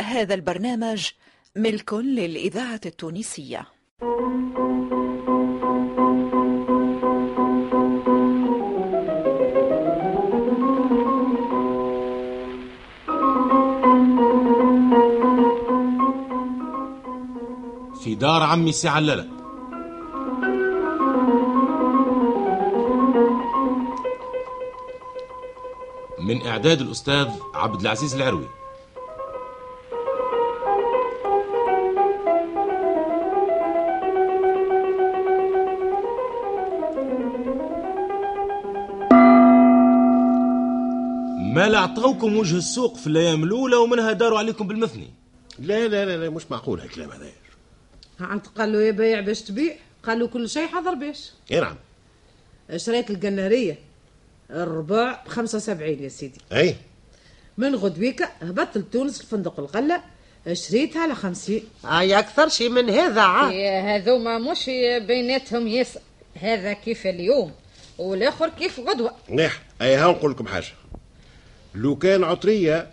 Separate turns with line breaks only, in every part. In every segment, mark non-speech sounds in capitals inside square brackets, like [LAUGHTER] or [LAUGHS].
هذا البرنامج ملك للإذاعة التونسية
في دار عمي سي عللة من إعداد الأستاذ عبد العزيز العروي ما لا عطاوكم وجه السوق في الأيام الأولى ومنها داروا عليكم بالمثني
لا لا لا, لا مش معقول هالكلام هذا
عاد قال له يا بيع باش تبيع قال له كل شيء حضر باش
اي نعم
شريت القنارية الرباع بخمسة وسبعين يا سيدي
اي
من غدويكا هبطت لتونس الفندق الغلة شريتها آه. على خمسين
اي اكثر شي من هذا
إيه.
عاد
يا هذوما مش بيناتهم ياسر هذا كيف اليوم والاخر كيف غدوه
مليح اي ها نقول لكم حاجه لو كان عطريه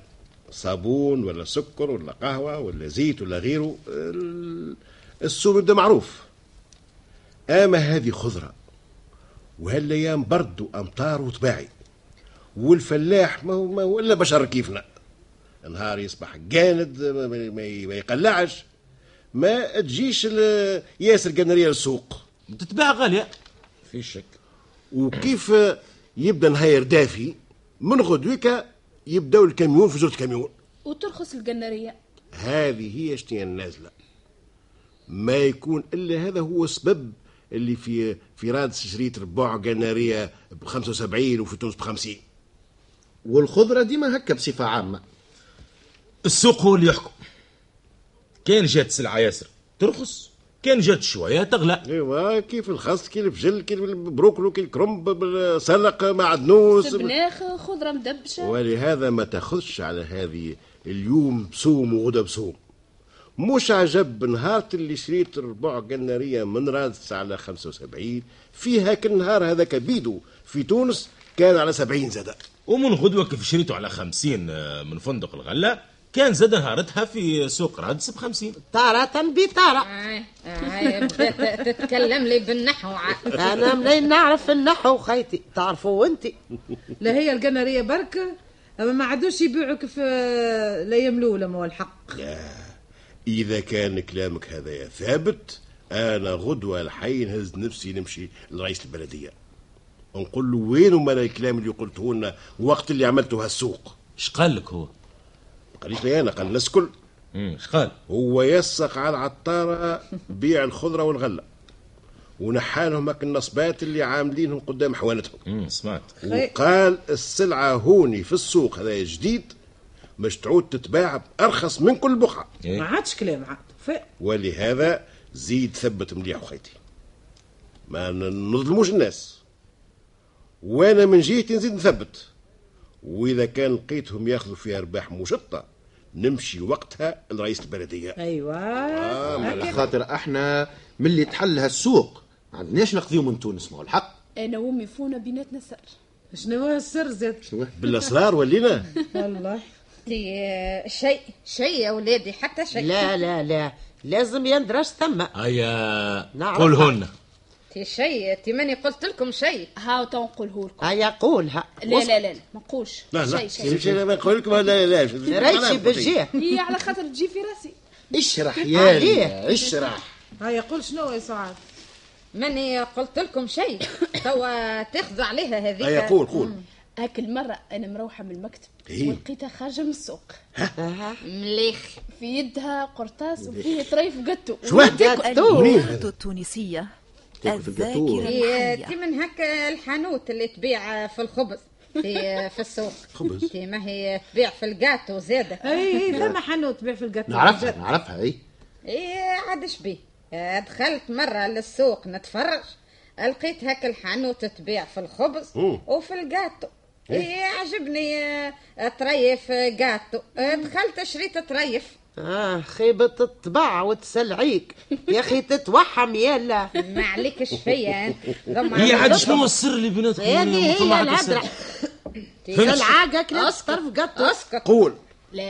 صابون ولا سكر ولا قهوه ولا زيت ولا غيره ال- السوق ده معروف اما هذه خضره وهالايام برد وامطار وتباعي والفلاح ما هو, ما هو الا بشر كيفنا نهار يصبح جاند ما, ما- ما- ما يقلعش ما تجيش ال- ياسر جنريه للسوق
تتباع غالية
في شك وكيف يبدا نهاير دافي من غدوك يبداو الكاميون في جرة الكاميون
وترخص القنارية
هذه هي شتي النازله ما يكون الا هذا هو السبب اللي في في رادس شريت ربع قناريه ب 75 وفي تونس ب 50
والخضرة ديما هكا بصفة عامة
السوق هو اللي يحكم كان جات السلعة ياسر ترخص كان جات شوية تغلى
ايوا أيوة، كيف الخس كي الفجل كي البروكلو كي الكرنب بالسلق معدنوس
سبناخ خضرة مدبشة
ولهذا ما تاخذش على هذه اليوم بسوم وغدا بسوم مش عجب نهار اللي شريت ربع قنارية من رادس على 75 فيها كالنهار هذاك بيدو في تونس كان على 70 زاد
ومن غدوة كيف شريته على خمسين آه، من فندق الغلة كان زاد نهارتها في سوق رادس بخمسين
تارة بتارة
إيه.
آه، آه، بدات تتكلم لي بالنحو عاد.
انا منين نعرف النحو خيتي تعرفوا انت
لا هي القنارية برك أما ما عادوش يبيعوا كيف آه، الأيام الأولى ما هو الحق
إذا كان كلامك هذا ثابت أنا غدوة الحي نهز نفسي نمشي لرئيس البلدية نقول له وين هما الكلام اللي قلته لنا وقت اللي عملته هالسوق
اش قال لك هو؟
ما قاليش لي أنا قال الناس الكل
اش قال؟
هو يسق على العطارة بيع الخضرة والغلة ونحالهم هك النصبات اللي عاملينهم قدام حوانتهم
مم، سمعت
خي-
وقال السلعة هوني في السوق هذا جديد مش تعود تتباع بأرخص من كل بقعة
ما عادش كلام عاد ف-
ولهذا زيد ثبت مليح وخيتي ما ن- نظلموش الناس وانا من جهتي نزيد نثبت واذا كان لقيتهم ياخذوا فيها ارباح مشطه نمشي وقتها لرئيس البلديه
أيوة. أيوا
على خاطر احنا من اللي تحل هالسوق ما عندناش نقضيو من تونس ما هو الحق
أنا وأمي فونا بيناتنا سر
شنو هو السر زاد
بالاسرار ولينا
والله
دي- آه، شيء شيء يا ولادي حتى شيء
لا لا لا لازم يندرج ثم
هيا
نعرف.
قولهن
تي شيء تي ماني قلت لكم شيء
هاو تو نقوله لكم
هيا قولها
لا لا لا لا ما نقولش
لا لا
شيء شيء
شيء ما نقول لكم لا لا لا
ريتشي بالجيه
هي على خاطر تجي في راسي
اشرح
عليه.
يا اشرح
هيا قول شنو يا سعاد
ماني قلت لكم
[COUGHS]
شيء توا تاخذوا عليها هذيك
اي آه، قول قول
هاك المرة أنا مروحة من المكتب
هي.
ولقيتها خارجة من السوق
مليخ
في يدها قرطاس
إيه.
وفيه طريف قطو
الإذاعة التونسية
تاكل في الجاتوه.
الذاكرة
تي
الحية
تي من هك الحانوت اللي تبيع في الخبز
[LAUGHS]
في في السوق خبز تي ما هي تبيع في الجاتو زاده
اي اي ثم حانوت تبيع في القطر
نعرفها نعرفها اي
ايه عاد شبيه آه، دخلت مرة للسوق نتفرج لقيت هاك الحانوت تبيع في الخبز
أوه.
وفي الجاتو ايه عجبني آه، طريف آه، جاتو آه، دخلت شريت طريف
آه خيبة الطباع وتسلعيك يا أخي تتوحم يلا
[LAUGHS]
ما عليكش
[LAUGHS]
فيا أنت. ضم
هي
عليك.
عاد شنو السر اللي بيناتكم
هذه هي
ثم عاد
الهدرة
السر.
سلعاك أكلت طرف قط
اسكت
قول
لا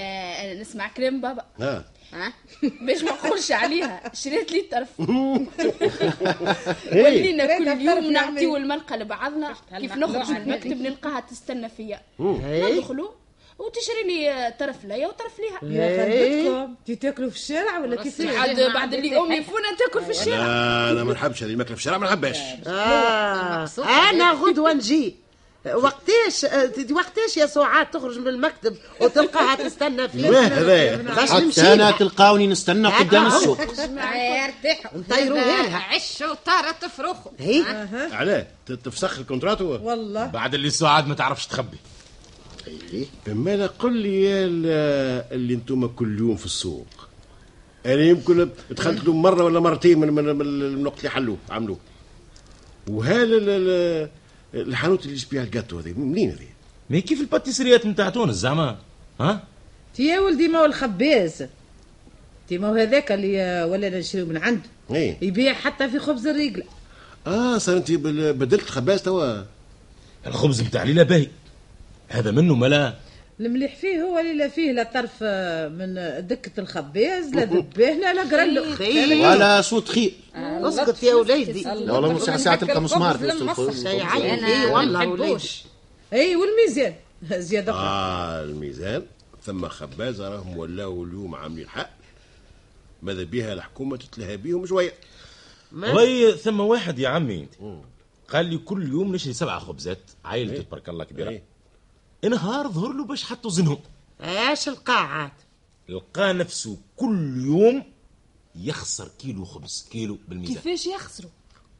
انا نسمع كلام بابا
ها
ها
باش ما نقولش عليها شريت لي طرف
إيه.
ولينا كل
شريت الطرف
يوم
نعمل.
نعطيو الملقى لبعضنا كيف نخرج
هالمخلوعة
من المكتب نلقاها تستنى فيا
إيه.
ندخلو وتشري لي طرف ليا وطرف ليها
إيه.
يا
إيه.
خدتكم تي تاكلوا في الشارع ولا كيفاش
عاد
إيه.
بعد اللي امي فونا تاكل في الشارع
لا انا آه، ما نحبش هذه الماكله في الشارع ما نحبهاش
آه.
المقصود
انا غدوه نجي وقتاش آه، وقتاش يا ساعات تخرج من المكتب وتلقاها تستنى فيك
واه هذايا
باش
حتى
نمشي
انا
لها.
أه، تلقاوني نستنى
هاكا
قدام
هو.
[LAUGHS] السوق
آه، ارتاحوا
نطيروها لها.
عش وطارة تفرخوا
هي.
آه.
علاه ت- تفسخ الكونترات هو
والله
بعد اللي سعاد ما تعرفش تخبي
اما انا قل لي يا ال- اللي انتم كل يوم في السوق انا يمكن دخلت له مره ولا مرتين من من من الوقت اللي حلوه عملوه وهذا ال- ال- الحانوت اللي يشبيها الجاتو هذه منين هذه؟
ما كيف الباتيسريات نتاع تونس زعما ها
تي يا ولدي ما هو الخباز تي ما هو هذاك اللي ولا نشريو من عنده
ايه
يبيع حتى في خبز الرجل
اه صار انت بال- بدلت خباز توا
الخبز نتاع ليلى باهي هذا منه ملا
المليح فيه هو اللي لا فيه لا طرف آه، من دكة الخباز لا ذباه لا لا قرلو
خير.
ولا صوت خير
اسكت يا وليدي
لا والله مو ساعة- ساعة تلقى مسمار في وسط الخبز.
شي عيب
أنا
إيه
ما
والله وليدي
نحبوش.
اي والميزان [LAUGHS] زيادة
آه.
أخرى
اه الميزان ثم خبازه راهم ولاو اليوم عاملين حق ماذا بيها الحكومه تتلهى بيهم شويه
والله ثم واحد يا عمي انت قال لي كل يوم نشري سبعة خبزات عائلته تبارك الله كبيرة
إيه.
نهار ظهر له باش حطوا زنهم
اش القاعات
لقى نفسه كل يوم يخسر كيلو خبز كيلو بالميزان
كيفاش يخسروا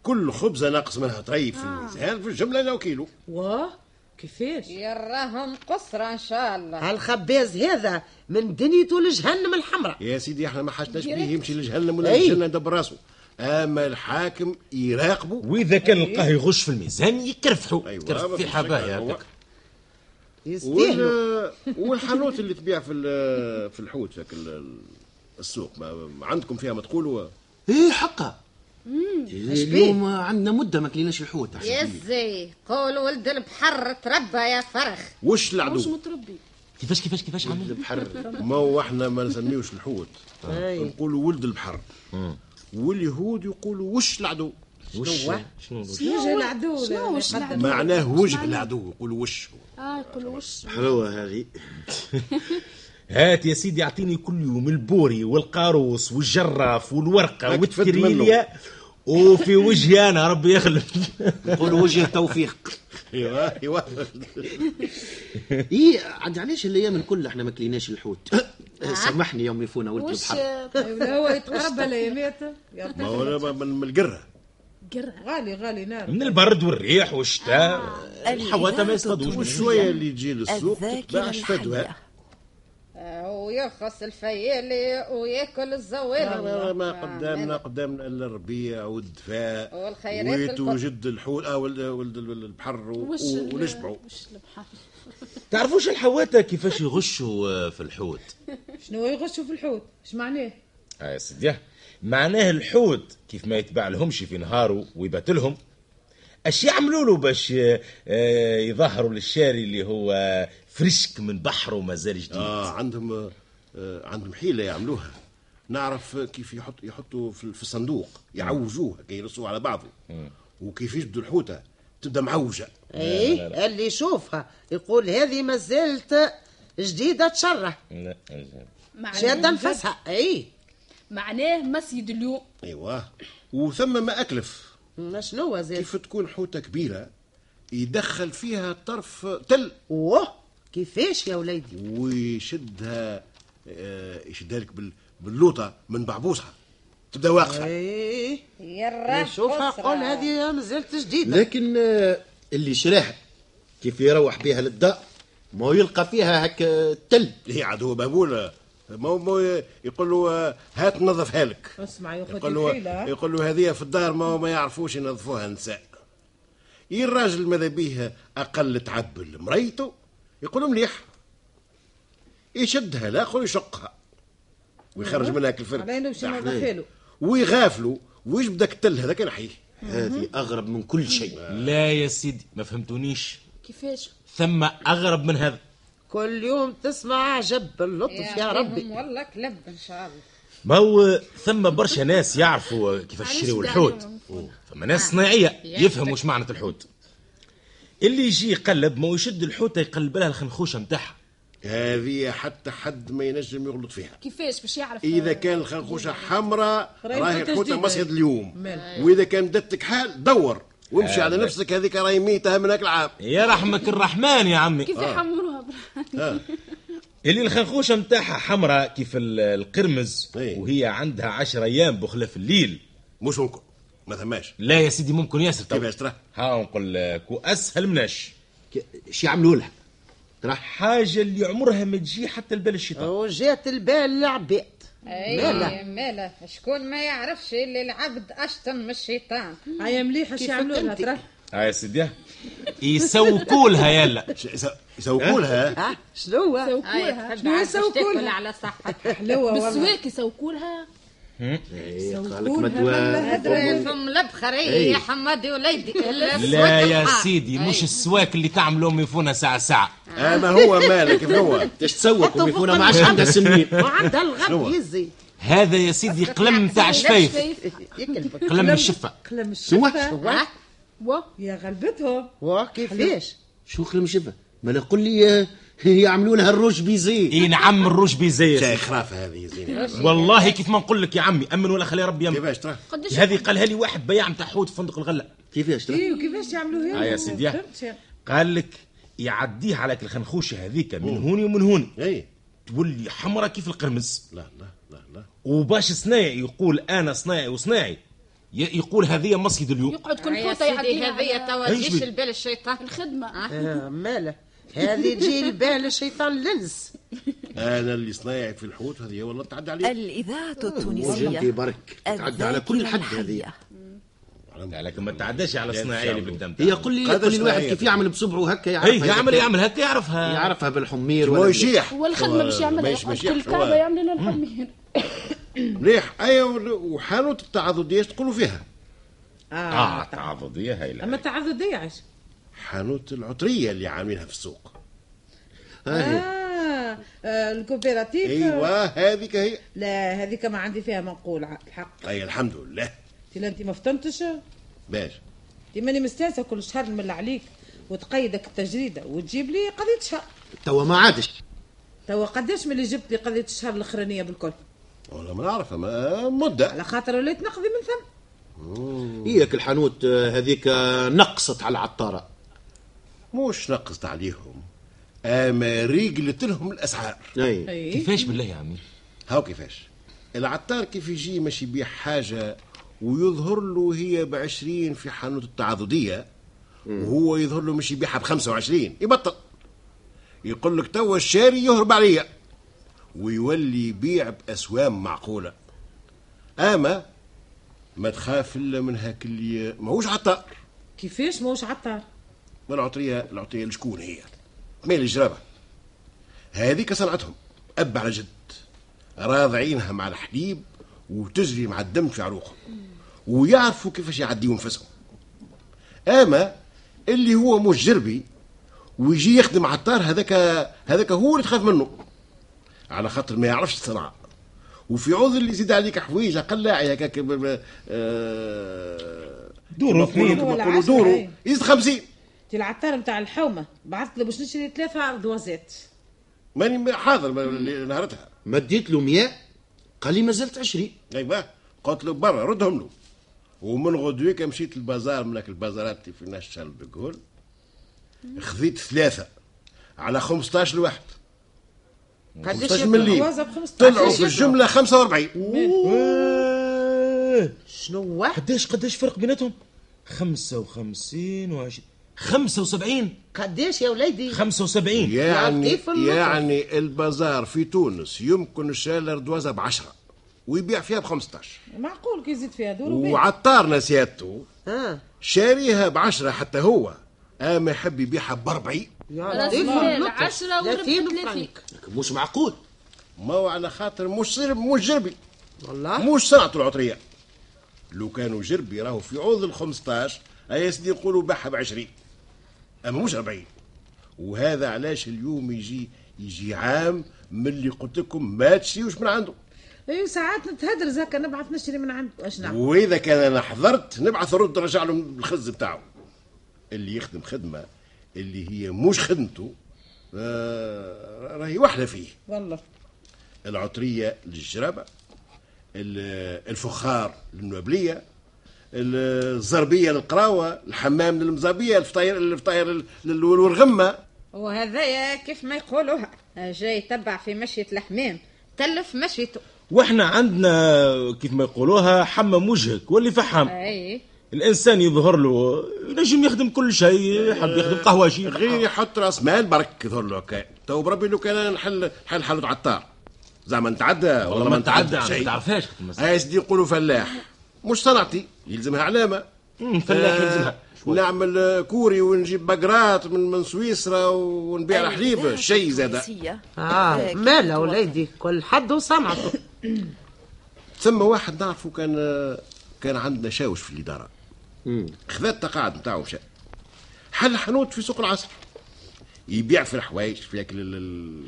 كل خبزه ناقص منها طريف في الميزان في الجمله لو كيلو
واه كيفاش
يراهم قصرة ان شاء الله
هالخباز هذا من دنيته لجهنم الحمراء
يا سيدي احنا ما حشناش بيه يمشي لجهنم ولا
إيه.
الجنه دبر راسه اما الحاكم يراقبه
وإذا كان لقاه يغش في الميزان يكرفحوا
أيوة، ما
كرف
في
في حبايا
شك هو.
هكاك.
يستاهلوا
وال- والحانوت اللي تبيع في ال- في الحوت في السوق ما ما عندكم فيها ما تقولوا
ايه حقها اليوم عندنا مدة ما كليناش الحوت عشان
يا
بيه.
زي قول ولد البحر تربى يا فرخ
وش
مش
العدو
متربي
كيفاش كيفاش كيفاش عمي
البحر
ما هو احنا ما نسميوش الحوت نقولوا ولد البحر واليهود يقولوا وش العدو
وش شنو
وجه العدو لا-
شنو
لا
وش
يقدر.
العدو؟
معناه وجه العدو يقولوا وش هو
اه يقولوا وش
حلوة هذه
هات يا سيدي اعطيني كل يوم البوري والقاروص والجراف والورقه
هاك تفد
والتريليا وفي وجهي انا ربي يخلف
نقول وجه [LAUGHS] توفيق
ايوه ايوه
ايه عاد علاش الايام الكل احنا ما كليناش الحوت أه، سامحني يوم يفونا ولد
وش
البحر
ولا هو يتقرب لا يميت يا
ما هو أنا من من القره
قرع
غالي غالي نار
من البرد والريح والشتاء الحواته ما يصطادوش
وشويه اللي تجي للسوق
الذاكرة
تتباعش فدوى
الحية
آه، ويرخص الفيالي وياكل الزوالي
إيه، ما ما قدامنا قدامنا الا الربيع والدفاع
والخيرات
ويت
الكل.
وجد الحول اه ولد ولد البحر و-
وش
و-
ال-
ونشبعوا
وش البحر
تعرفوش الحواته كيفاش يغشوا آه، في الحوت
شنو يغشوا في الحوت اش معناه
اه يا سيدي معناه الحوت كيف ما يتباع لهمش في نهاره ويباتلهم اش يعملوا له باش آه، آه، يظهروا للشاري اللي هو فريشك من بحره ومازال جديد
اه عندهم آه، آه، عندهم حيله يعملوها نعرف كيف يحط يحطوا في في الصندوق يعوجوه كي يرصوه على بعضه وكيف يجدوا الحوته تبدا معوجه
ايه اللي يشوفها يقول هذه ما زالت جديده تشره
لا، أجل.
شاده
معناه
نفسها ايه
معناه مسجد اليوم
ايوه وثم ما اكلف
ما شنو زاد
كيف تكون حوته كبيره يدخل فيها طرف تل
اوه كيفاش يا وليدي
ويشدها آه، يشدها لك بال- باللوطه من بعبوسها تبدا واقفه
ايه
يراهم
شوفها
قصرة.
قول هذه ما زالت جديده
لكن آه، اللي شراها كيف يروح بها للدار ما هو يلقى فيها هكا تل
هي عاد هو مهبول ما هو يقول له آه، هات نظفها لك
اسمع يا
يقول
خوتي
له
الحيله ها.
يقول له هذه في الدار ما ما يعرفوش ينظفوها النساء يا الراجل ماذا بيه اقل تعبل مريته يقول له مليح يشدها لاخر يشقها ويخرج منها كل فرد
علينا وش نضحيلو
ويغافلوا ويجبد التل هذاك نحيه
هذه اغرب من كل شيء
لا يا سيدي ما فهمتونيش
كيفاش
ثم اغرب من هذا
كل يوم تسمع جب اللطف يا ربي
يعطيهم والله كلب ان شاء الله
ما هو ثم برشا ناس يعرفوا كيفاش يشريوا الحوت ثم ناس صناعيه يفهموا واش معنى الحوت اللي يجي يقلب ما هو يشد الحوته يقلب لها الخنخوشه نتاعها
هذه حتى حد ما ينجم يغلط فيها
كيفاش باش يعرف
اذا كان الخنخوشه حمراء
راهي
راهي
الحوتة
الحوته
جديدة.
مصيد اليوم واذا كان بدت كحال دور وامشي
آه،
على نفسك هذيك راهي ميتها من هاك العام
يا رحمك الرحمن يا عمي
كيف يحمروها برا
اللي الخنخوشه نتاعها حمراء كيف ال- القرمز
إيه.
وهي عندها عشر ايام بخلاف الليل
مش ممكن ما ثماش
لا يا سيدي ممكن ياسر تو.
كيفاش ترى؟
ها نقول لك واسهل مناش
ك- شي يعملوا لها
حاجه اللي عمرها ما تجي حتى لبال الشيطان
وجات البال للعباد
اي ماله إيه، شكون ما يعرفش اللي العبد اشطن من الشيطان
هيا مليحه شو يعملوا لها ترى
ها يا سيدي ها. يسوقوا لها يلا
ش- يس- يسوقوا لها
ها شنو هو؟
سوكولها
شنو يسوقولها؟
تاكل على صحتها
حلوه والله
بالسواك يسوكولها
إيه، قال لك
لها
مدوان
هدري فم لبخرية إيه. يا حمادي وليدي
لا يا سيدي مش السواك اللي تعملوا ميفونا ساعه ساعه
اما آه، هو مالك كيف هو
تش تسوق
حطوا
ويكون
فوق
ما عادش
الغرب.
عندها سنين
وعندها الغب يزي
هذا يا سيدي قلم تاع شفايف
يكلفك
قلم الشفه
قلم
سواك.
الشفه
هو
و
يا غلبتهم
هو كيفاش
أه.
شو قلم شبه ما لا قل لي آه، يعملوا لها الروج بيزي
اي نعم الروج
شاي
بيزي
خرافه هذه يا زينب
والله كيف ما نقول لك يا عمي امن ولا خلي ربي يمن
كيفاش ترى؟
قداش
هذه قالها لي واحد بياع نتاع حوت في فندق الغله
كيفاش ترى
ايه وكيفاش يعملوها
آه
ها يا سيدي ها. قال لك يعديه على الخنخوشه هذيك من هوني ومن هوني
اي
تولي حمرة كيف القرمز
إيه. لا لا لا لا
وباش صناعي يقول انا صناعي وصناعي ي- يقول هذه مصيد اليوم
يقعد كل
يا
حوته
سيدي
يعديها على
هذه
إيه؟
توا تجيش
عجبي.
البال الشيطان
الخدمه
آه، ماله هذه تجي البال الشيطان لنس
انا اللي صنايع في الحوت هذه والله تعدى عليك
الإذاعة
وجنتي
التونسية
برك تعدى على كل
الذاكرة
حد هذه
الحية.
لا لكن ما تعداش على صناعي اللي بالدم
هي قل لي
قداش
قل لي الواحد
صناعية
كيف يعمل بصبعه هكا
اي
يعرفها
يعمل
إذا كان-
يعمل هكا يعرفها
يعرفها بالحمير
هو
ولا
يشيح
والخدمه باش يعملها
ماشي
يقعد
ماشي
كل كعبه يعمل لها
[LAUGHS]
الحمير
مليح اي وحانوت التعاضديه تقولوا فيها
آه.
اه
آه.
تعاضد يا هايله
اما تعذدي عاش
حانوت العطريه اللي عاملينها في السوق
آه. أيوة.
اه آه، الكوبيراتيف
ايوه هذيك هي
لا هذيك ما عندي فيها منقول ع- الحق
اي الحمد لله
انت لا انت ما فطنتش انت
باش
ماني مستانسه كل شهر نمل عليك وتقيدك التجريده وتجيب لي قضيه شهر
توا ما عادش
توا قداش من اللي جبت لي قضيه الشهر الاخرانيه بالكل
والله ما نعرف ما مده
على خاطر وليت نقضي من ثم
هيك الحانوت آه، هذيك آه، نقصت على العطاره
مش نقصت عليهم اما ريقلت لهم الاسعار
اي
اي
كيفاش بالله يا عمي
هاو كيفاش العطار كيف يجي ماشي يبيع حاجة ويظهر له هي بعشرين في حانوت التعاضدية وهو يظهر له ماشي يبيعها بخمسة وعشرين يبطل يقول لك توا الشاري يهرب عليا ويولي يبيع بأسوام معقولة أما ما تخاف إلا من هاك اللي ماهوش عطار
كيفاش موش عطار
ما العطرية العطرية لشكون هي مال الجرابة هذيك صنعتهم أب على جد راضعينها مع الحليب وتجري مع الدم في عروقهم ويعرفوا كيفاش يعديوا نفسهم أما اللي هو مش جربي ويجي يخدم عطار هذاك هذاك هو اللي تخاف منه على خاطر ما يعرفش الصنعة وفي عوض اللي يزيد عليك حوايج قلاعي هكاك ب- ب- آه،
دوروا
كما يقولوا-
اثنين
كما
ولا
يقولوا
عشرة،
دوروا
أي.
يزيد خمسين
انت العطار نتاع الحومه بعثت له باش نشري ثلاثه اردوازات
ماني حاضر ما- اللي نهارتها
مديت له 100 قال لي ما زلت 20
ايوه قلت له برا ردهم له ومن غدويك مشيت البازار من هاك البازارات اللي في ناشر بقول خذيت ثلاثه على 15 لواحد
قداش
15
يطلع؟
ملي
الوازة ب 15
طيب. طلعوا في الجمله 45
آه،
شنو هو؟
قداش قداش فرق بيناتهم 55 و 75
قداش يا وليدي
75
يا
يعني
لطيف اللطف.
يعني البازار في تونس يمكن شال ردوازه ب 10 ويبيع فيها ب 15
معقول كي يزيد فيها دور وبيع.
وعطارنا سيادته
اه
شاريها ب 10 حتى هو اما يحب يبيعها ب 40
يا
راس
لطيف
مال
اللطف.
10 وربح
30
30.
فرنك.
مش معقول
ما هو على خاطر مش صرب مش جربي
والله
مش صنعته العطريه لو كانوا جربي راهو في عوض ال 15 اي سيدي يقولوا باعها ب 20 اما مش 40 وهذا علاش اليوم يجي يجي عام من اللي قلت لكم ما تشريوش من عنده
اي أيوة، ساعات نتهدرز هكا نبعث نشري من عندك اش نعمل
واذا كان انا حضرت نبعث الرد نرجع له الخز بتاعه اللي يخدم خدمه اللي هي مش خدمته آه، راهي وحده فيه
والله
العطريه للجرابه ال- الفخار للمبليه الزربيه للقراوه الحمام للمزابيه الفطاير الفطاير لل- والغمه
وهذايا كيف ما يقولوها جاي يتبع في مشية الحمام تلف مشيته
واحنا عندنا كيف ما يقولوها حمم وجهك واللي فحم
اي
الانسان يظهر له ينجم يخدم كل شيء يحب يخدم قهوجي
غير يحط راس مال برك ظهر له هكا تو بربي لو كان نحل نحل حلة عطار زعما نتعدى والله ما نتعدى شيء
تعرفهاش
هاي سيدي يقولوا فلاح مش صنعتي يلزمها علامه
فلاح
آه،
يلزمها شوي.
نعمل آه، كوري ونجيب بقرات من من سويسرا ونبيع
أيوة،
الحليب شيء زاد
التونسية.
اه
أكيد
مالا إيه؟
توقف.
وليدي كل حد وسمعته
ثم واحد نعرفه كان آه، كان عندنا شاوش في الاداره خذا التقاعد نتاعو مشى حل حانوت في سوق العصر يبيع في الحوايج في اكل ال- ال-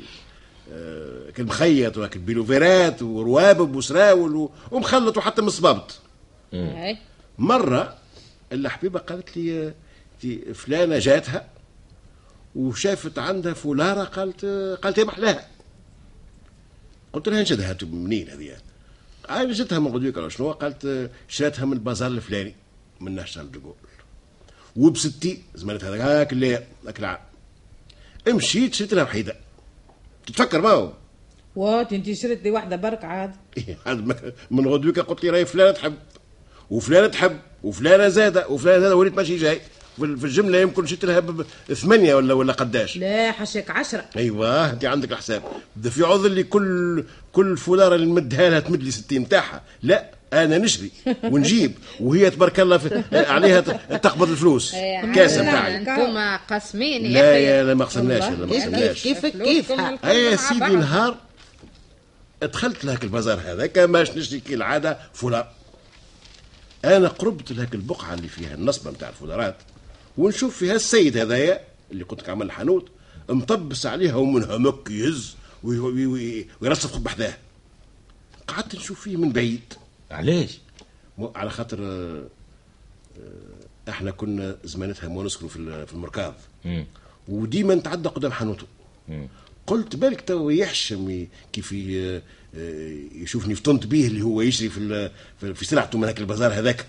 آه، كل مخيط واكل بيلوفيرات وروابب وسراول و- ومخلط وحتى مصبابط
اي
مره الحبيبه قالت لي آه، تي- فلانه جاتها وشافت عندها فولاره قالت آه، قالت يا محلاها قلت لها نشدها تب- منين هذه قال نشدها من غدويك ولا شنو قالت آه، شراتها من البازار الفلاني من ناشر دقول وبستي زمانت هذاك هاك اللي هاك العام مشيت شريت لها وحيده تتفكر ما هو
وات انت شريت لي واحده برك عاد
إيه، من غدوك قلت لي راهي فلانه تحب وفلانه تحب وفلانه زاده وفلانه زاده وليت ماشي جاي في ال- في الجمله يمكن شفت لها ب- ب- ثمانيه ولا ولا قداش
لا حشك عشرة
ايوه انت عندك الحساب ده في عوض اللي كل كل فولاره اللي نمدها لها تمد لي 60 نتاعها لا انا نشري ونجيب وهي تبارك الله في عليها ت- تقبض الفلوس
إيه،
الكاسه نتاعي
انتوما قاسمين يا
لا
اخي
يا لا ما قسمناش لا ما
كيف كيف
قسمناش
كيفك
فلوسكم
كيفها
الكل
اي يا
مع
سيدي
بعض.
نهار دخلت لهاك البازار هذاك ماش نشري كي العاده فولار انا قربت لهاك البقعه اللي فيها النصبه نتاع الفولارات ونشوف فيها السيد هذايا اللي قلت لك عمل الحانوت مطبس عليها ومن همك يهز وي- وي- وي- ويرصف بحذاه قعدت نشوف فيه من بعيد
علاش
مو- على خاطر آه، آه، احنا كنا زمانتها ما نسكنوا في ال- في المركاض وديما نتعدى قدام حانوته قلت بالك تو يحشم ي- كيف ي- آه، يشوفني فطنت بيه اللي هو يشري في ال- في- في سلعته من هاك البازار هذاك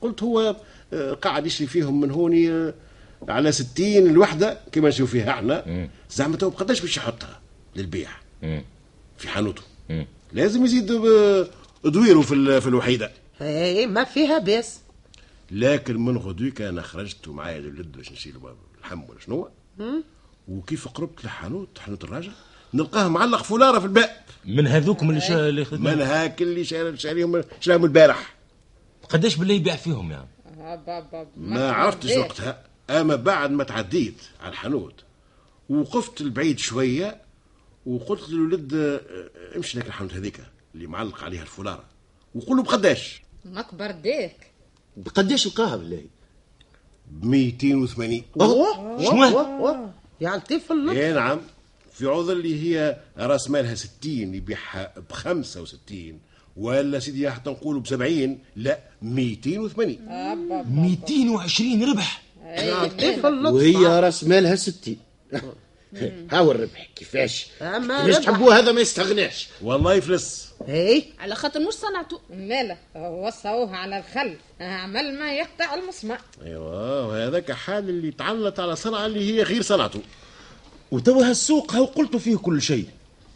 قلت هو آه، قاعد يشري فيهم من هوني آه، على 60 الوحده كما نشوف فيها احنا زعما تو بقداش باش يحطها للبيع في حانوته لازم يزيد آه، دويره في ال- في الوحيده
اي ما فيها بس
لكن من غدوك انا خرجت ومعايا الولد باش نشيلوا باب اللحم ولا شنو وكيف قربت للحانوت حانوت الراجل نلقاه معلق فولاره في الباب
من هذوك من الش- اللي
من
خدمه
هاك اللي شاري- شاريهم شراهم البارح
قداش بالله يبيع فيهم يعني
آه،
هبا هبا.
ما عرفتش
بيه.
وقتها اما بعد ما تعديت على الحانوت وقفت لبعيد شويه وقلت للولد آه، آه، امشي لك الحانوت هذيك اللي معلق عليها الفولاره وقول له بقداش
مكبر ديك
قديش لقاها بالله
ب 280
شنو؟
شنو يا لطيف الله
اي نعم في عوض اللي هي راس مالها 60 يبيعها ب 65 ولا سيدي حتى نقولوا ب 70 لا 280
220 ربح
يا لطيف الله
وهي راس مالها 60 هاو الربح كيفاش
أما
كيفاش
ربح.
تحبوه هذا ما يستغناش
والله يفلس
اي
على خاطر مش صنعته
مالا وصوه على الخل عمل ما يقطع المسمار
ايوا وهذاك حال أيوة، اللي تعلت على صنعه اللي هي غير صنعته
وتوا هالسوق هاو قلتوا فيه كل شيء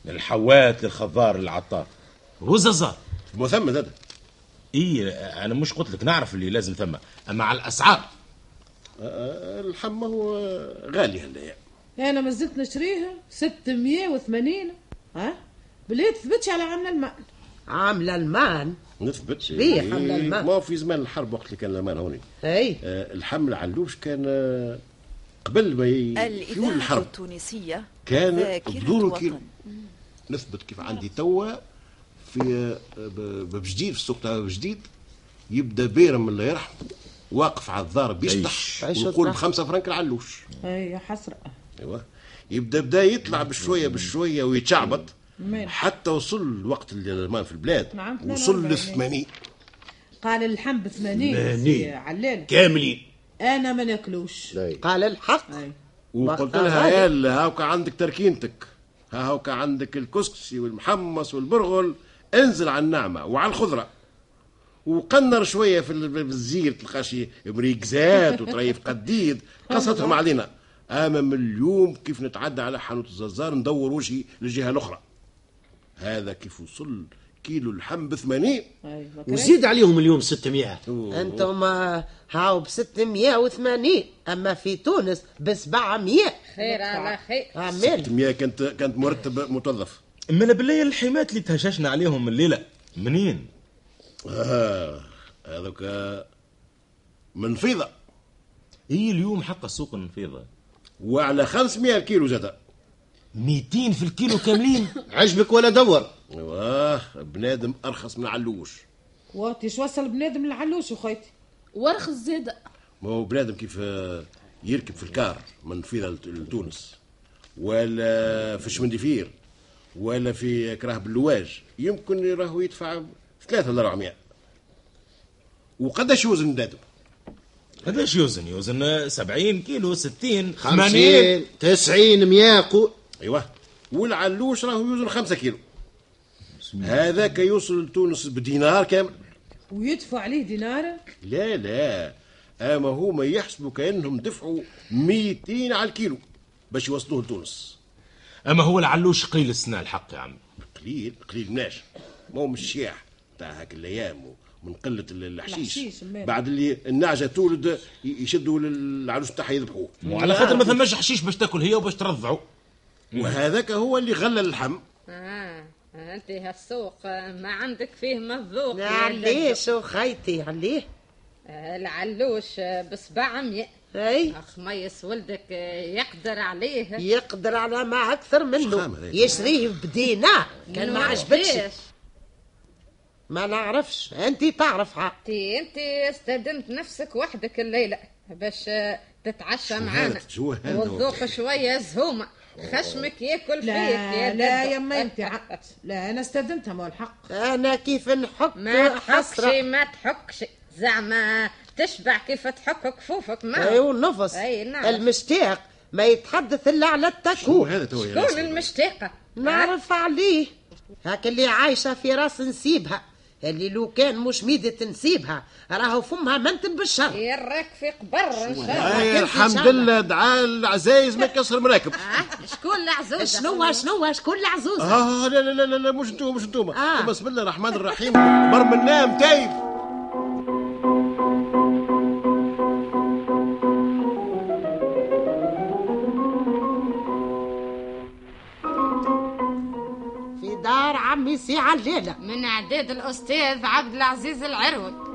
من الحوات للخضار للعطار والزازار
مثمن هذا
اي انا مش قلت لك نعرف اللي لازم ثم اما على الاسعار
آه، اللحم هو غالي يعني. هنايا
انا ما زلت نشريها 680 ها بلي تثبتش على عامله الماء
عامله المان
نثبت
شبيه حمل
إيه،
الماء.
ما في زمان الحرب وقت اللي كان الامان هوني
اي
آه، الحمل علوش كان آه، قبل ما ي- يولي
الإذاعة
الحرب
التونسية
كان
ذاكرة
بدور
وطن.
كيلو نثبت كيف عندي توا في ب- باب جديد في السوق تاع باب جديد يبدا بيرم الله يرحمه واقف على الدار بيشطح
عيش.
عيش
ويقول
وطرح.
بخمسة فرنك العلوش
اي يا حسره
ايوا يبدا بدا أيوة. يطلع بشويه بشويه ويتشعبط
مين؟
حتى وصل الوقت اللي ما في البلاد
نعم، اثنين
وصل
وأربعين.
ل 80
قال اللحم ب 80
ثمانين.
يا علال
كاملين
انا ما ناكلوش
قال الحق
أي.
وقلت
آه،
لها
غالي.
يا هاوكا عندك تركينتك ها هاوكا عندك الكسكسي والمحمص والبرغل انزل على النعمه وعلى الخضره وقنر شويه في ال- في الزير تلقى شي مريكزات وطريف قديد قصتهم علينا اما من اليوم كيف نتعدى على حانوت الزازار ندور وجهي للجهه الاخرى هذا كيف وصل كيلو اللحم ب 80
أي، ما كرهت.
وزيد عليهم اليوم 600
انتم آه، هاو ب 680 اما في تونس ب 700
خير على خير
عمال
100 كانت كانت مرتب متوظف
من بالله الحمات اللي تهششنا عليهم الليله منين؟
آه، هذوك آه، من فيضه
هي إيه اليوم حق السوق النفيضه
وعلى 500 كيلو زاد
200 في الكيلو [LAUGHS] كاملين
عجبك ولا دور
واه بنادم ارخص من علوش
وقت ايش وصل بنادم للعلوش وخيتي
ورخ زادة
ما هو بنادم كيف آه، يركب في الكار من فيضه لت- لتونس ولا في شمندفير ولا في كراه باللواج يمكن راهو يدفع ثلاثة ولا 400 وقداش يوزن بنادم
قداش يوزن يوزن 70 كيلو 60 80
50 90 100 قو
ايوه والعلوش راهو يوزن 5 كيلو هذاك يوصل لتونس بدينار كامل
ويدفع عليه دينار
لا لا اما هما يحسبوا كانهم دفعوا 200 على الكيلو باش يوصلوه لتونس
اما هو العلوش قيل السنه الحق يا عم
قليل قليل مناش ما هو مش الشياح تاع هاك الايام ومن قله ال- الحشيش
الحشيش، مال.
بعد اللي النعجه تولد ي- يشدوا لل- العروس تاعها يذبحوه
وعلى خاطر ما ثماش حشيش باش تاكل هي وباش ترضعوا
وهذاك هو اللي غلى اللحم
آه انت هالسوق آه، ما عندك فيه مذوق يا
علاش وخيتي عليه
آه، العلوش آه، ب 700
اي
خميس ولدك آه، يقدر عليه
يقدر على ما اكثر
شخام
منه
هذاك.
يشريه بدينار كان ما
إنه
عجبكش
ليش؟
ما نعرفش انت تعرف عا-
انت انت استدمت نفسك وحدك الليله باش آه، تتعشى
شو
معانا
هذا؟ شو هذا؟
وتذوق شويه زهومه خشمك ياكل فيك يا
لا لا
ددو.
يا ما انت عقت لا انا استاذنتها ما هو الحق
انا كيف نحك
ما تحكش
حسره
ما تحكش زعما تشبع كيف تحك كفوفك
اي
أيوة.
ما
والنفس
أي نعم.
المشتاق ما يتحدث الا على
شو
التكو
هذا تو يا
شكون
ناس؟
المشتاقه
نعرف عليه هاك اللي عايشة في راس نسيبها اللي لو كان مش ميدة نسيبها راهو فمها منتن بالشر
يراك في قبر ان شاء الله
أي الحمد لله دعاء العزايز ما يكسر مراكب
آه، شكون العزوز
شنو شنو شكون العزوز
اه لا لا لا لا, لا مش انتوما مش انتوما
آه.
آه. بسم الله الرحمن الرحيم برمنا متايب
في دار عمي سي علالة
من عداد الاستاذ عبد العزيز العروي